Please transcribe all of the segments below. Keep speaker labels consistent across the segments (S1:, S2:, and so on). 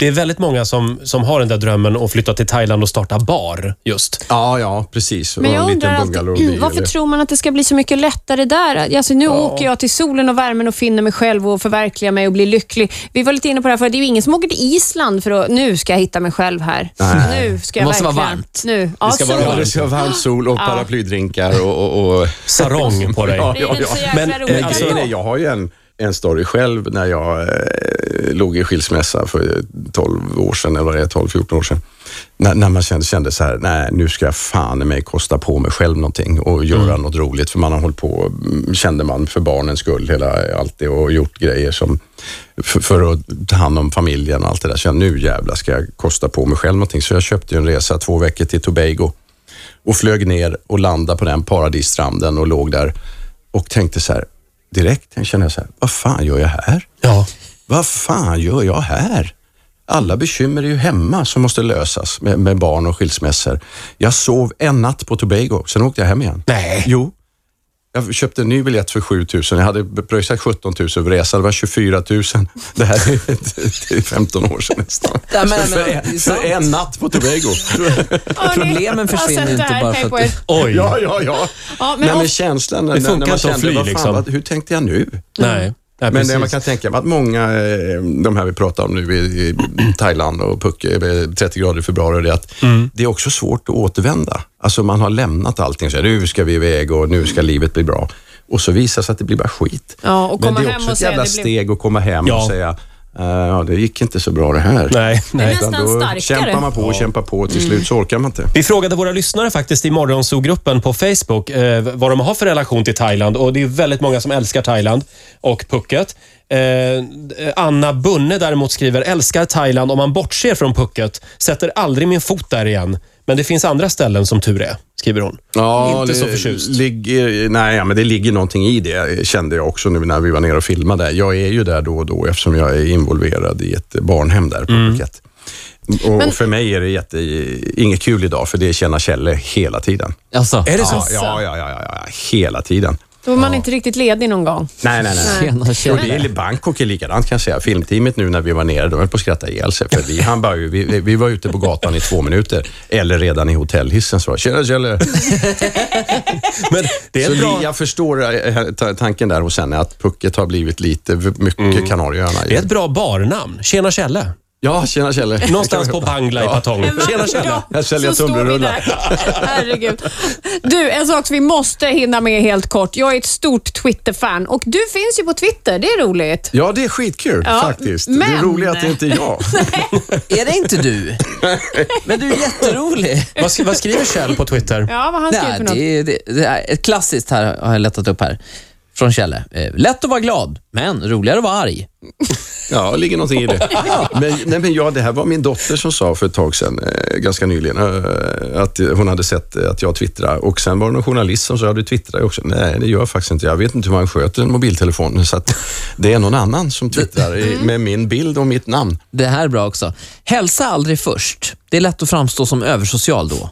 S1: Det är väldigt många som, som har den där drömmen att flytta till Thailand och starta bar just.
S2: Ja, ja, precis.
S3: Men
S2: Och en
S3: jag
S2: liten
S3: undrar
S2: bungalowby
S3: alltid, varför
S2: eller-
S3: tror man att det ska bli så mycket lättare där? Alltså, nu åker jag till solen och värmen och finner mig själv och förverkligar mig och blir lycklig. Vi var lite inne på det här för det är ju ingen som åker till Island för att nu ska jag hitta mig själv här. Nu ska jag
S4: Det måste vara
S3: verkligen-
S4: varmt.
S3: Nu. Ja,
S4: Det ska vara
S3: sol.
S2: Ja, det ska vara varm sol och paraplydrinkar och... och, och...
S1: Sarong på dig.
S2: Ja,
S3: Det är väl så jäkla
S1: Men,
S3: roligt
S1: eh,
S2: Men
S1: alltså-
S2: grejen är, jag har ju en, en story själv när jag eh, låg i skilsmässa för 12 år sedan, eller vad det är, 12-14 år sedan. När, när man kände, kände så här, nej nu ska jag fan i mig kosta på mig själv någonting och göra
S1: Mm.
S2: något roligt. För man har hållit på, mm, kände man, för barnens skull hela, allt det och gjort grejer som för, för att ta hand om familjen och allt det där. Så jag, nu jävlar ska jag kosta på mig själv någonting. Så jag köpte ju en resa två veckor till Tobago och flög ner och landade på den paradisstranden och låg där och tänkte så här, direkt kände jag så här, vad fan gör jag här?
S1: Ja.
S2: Vad fan gör jag här? Alla bekymmer är ju hemma som måste lösas med, med barn och skilsmässor. Jag sov en natt på Tobago, sen åkte jag hem igen.
S1: Nej.
S2: Jo. Jag köpte en ny biljett för 7 000. Jag hade pröjsat 17 000 för resa. Det var 24 000. Det här är det är 15 år sedan nästan.
S4: Ja, men- men-
S2: för, en, för en natt på Tobago.
S3: Ja, det-
S4: Problemen
S3: jag har
S4: försvinner
S3: sett det
S4: inte
S3: här,
S4: bara
S3: tänk
S4: för att
S3: på
S4: du-
S3: er.
S1: Oj.
S2: Ja, ja, ja.
S3: Ja, men
S2: Nej, men
S3: of-
S2: känslan när,
S1: Det funkar
S2: när man
S1: inte att
S2: kände,
S1: fly,
S2: vad fan,
S1: liksom.
S2: vad, hur tänkte jag nu?
S1: Nej. Nej,
S2: Men
S1: precis.
S2: det man kan tänka mig att många, eh, de här vi pratar om nu i, i Thailand och Phuket, eh, 30 grader i februari, det är att
S1: Mm.
S2: det är också svårt att återvända. Alltså man har lämnat allting, så här, nu ska vi iväg och nu ska livet bli bra. Och så visar det sig att det blir bara skit.
S3: Ja, och komma
S2: Men det är
S3: hem
S2: också
S3: och
S2: ett
S3: säga,
S2: jävla
S3: "Det blev-"
S2: steg att komma hem
S1: Ja.
S2: och säga, "Eh, ja det gick inte så bra det här.
S1: Nej, nej.
S3: nästan
S2: då
S3: starkare.
S2: kämpar man på och kämpar på och till slut så orkar man inte.
S1: Vi frågade våra lyssnare faktiskt i Morgonzoo-gruppen på Facebook eh, vad de har för relation till Thailand och det är väldigt många som älskar Thailand och Phuket. Eh, Anna Bunne däremot skriver “Älskar Thailand om man bortser från Phuket. Sätter aldrig min fot där igen. Men det finns andra ställen som tur är”, skriver hon.
S2: Ja,
S1: Inte
S2: det
S1: så förtjust.
S2: Ligger, nej, ja, men det ligger någonting i det, kände jag också nu när vi var nere och filmade. Jag är ju där då och då eftersom jag är involverad i ett barnhem där på
S1: Mm.
S2: Phuket. Och och för mig är det jätte, inget kul idag, för det är Tjena Kjelle hela tiden.
S4: Alltså,
S1: Är det så?
S2: Ja, ja, ja, ja, ja, ja, hela tiden.
S3: Då är man inte riktigt ledig någon gång.
S2: Nej, nej, nej. nej.
S4: tjena,
S2: Och
S4: tjena.
S2: det är Bangkok är likadant kan jag säga. Filmteamet nu när vi var nere, de höll på att skratta ihjäl sig. För vi, han bara, vi, vi- vi var ute på gatan i två minuter, eller redan i hotellhissen. Så var det, tjena Kjelle.
S1: Men det är
S2: så
S1: ett bra,
S2: li- jag förstår eh, ta- tanken där hos henne, att Pucket har blivit lite v- mycket Kanarieöarna.
S1: det är Mm. ett bra barnamn. Tjena Kjelle.
S2: Ja, tjena Kjelle.
S1: Någonstans på Bangla i Patong.
S3: Men vad
S1: Tjena Kjelle.
S3: bra.
S2: Här säljer jag
S3: Så står vi
S2: tunnbrödsrullar.
S3: där. Herregud. Du, en sak som vi måste hinna med helt kort. Jag är ett stort Twitter-fan och du finns ju på Twitter. Det är roligt.
S2: Ja, det är skitkul
S3: Ja,
S2: faktiskt. Det
S3: men-
S2: är roligt att det inte är jag.
S4: är det inte du? Men du är jätterolig.
S1: Vad, sk- vad skriver Kjell på Twitter?
S3: Ja, vad han skriver
S4: Nej,
S3: för något.
S4: det, är- det, det är ett klassiskt här har jag letat upp här. Från Kjelle. Eh, Lätt att vara glad, men roligare att vara arg.
S2: Ja, det ligger någonting i det. Men, nej, men ja, det här var min dotter som sa för ett tag sedan, eh, ganska nyligen, eh, att eh, hon hade sett eh, att jag twittrar. Och sen var det någon journalist som sa, ja, du twittrar ju också. Nej, det gör jag faktiskt inte. Jag vet inte hur man sköter en mobiltelefon. Så att det är någon annan som twittrar i-
S3: Mm.
S2: med min bild och mitt namn.
S4: Det här är bra också. Hälsa aldrig först. Det är lätt att framstå som översocial då.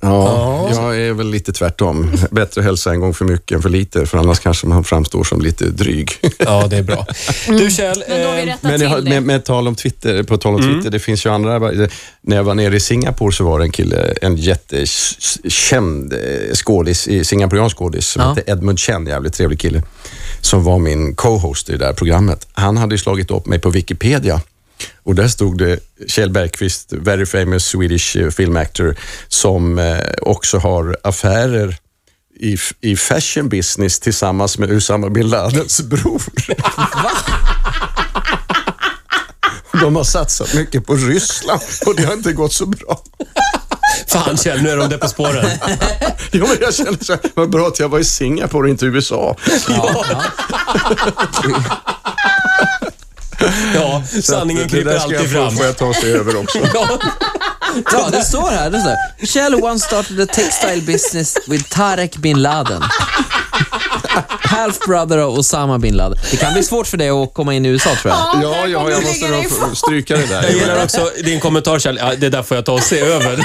S2: Ja, jag är väl lite tvärtom. Bättre hälsa en gång för mycket än för lite, för annars kanske man framstår som lite dryg.
S1: Ja, det är bra. Du Kjell,
S3: Mm. Men då har vi
S1: eh,
S3: rättat
S2: Men jag, har-
S3: till det.
S2: med, med tal om Twitter, på tal om Twitter, det finns ju andra. När jag var nere i Singapore så var det en kille, en jättekänd eh, skådis, i- singaporeansk skådis, som
S4: Ja.
S2: hette Edmund Chen, jävligt trevlig kille, som var min co-host i det där programmet. Han hade ju slagit upp mig på Wikipedia. Och där stod det Kjell Bergqvist, very famous Swedish eh, film actor, som eh, också har affärer i, f- i fashion business tillsammans med Usama bin Ladens bror. De har satsat mycket på Ryssland och det har inte gått så bra.
S1: fan Kjell, nu är de där på spåren.
S2: Jo, men jag känner så här, vad bra att jag var i Singapore och inte i USA.
S1: Ja, sanningen
S2: det
S1: kryper
S2: där ska
S1: alltid
S2: jag få,
S1: fram.
S2: får jag ta sig över också.
S1: Ja,
S4: Ja, det står här. Det står här. Kjell once started a textile business with Tarek bin Laden. Half brother of Osama bin Laden. Det kan bli svårt för dig att komma in i USA tror jag.
S2: Ja, ja, jag måste nog få- stryka det
S1: jag
S2: där.
S1: gillar också din kommentar Kjell. Ja, det där får jag ta och se över.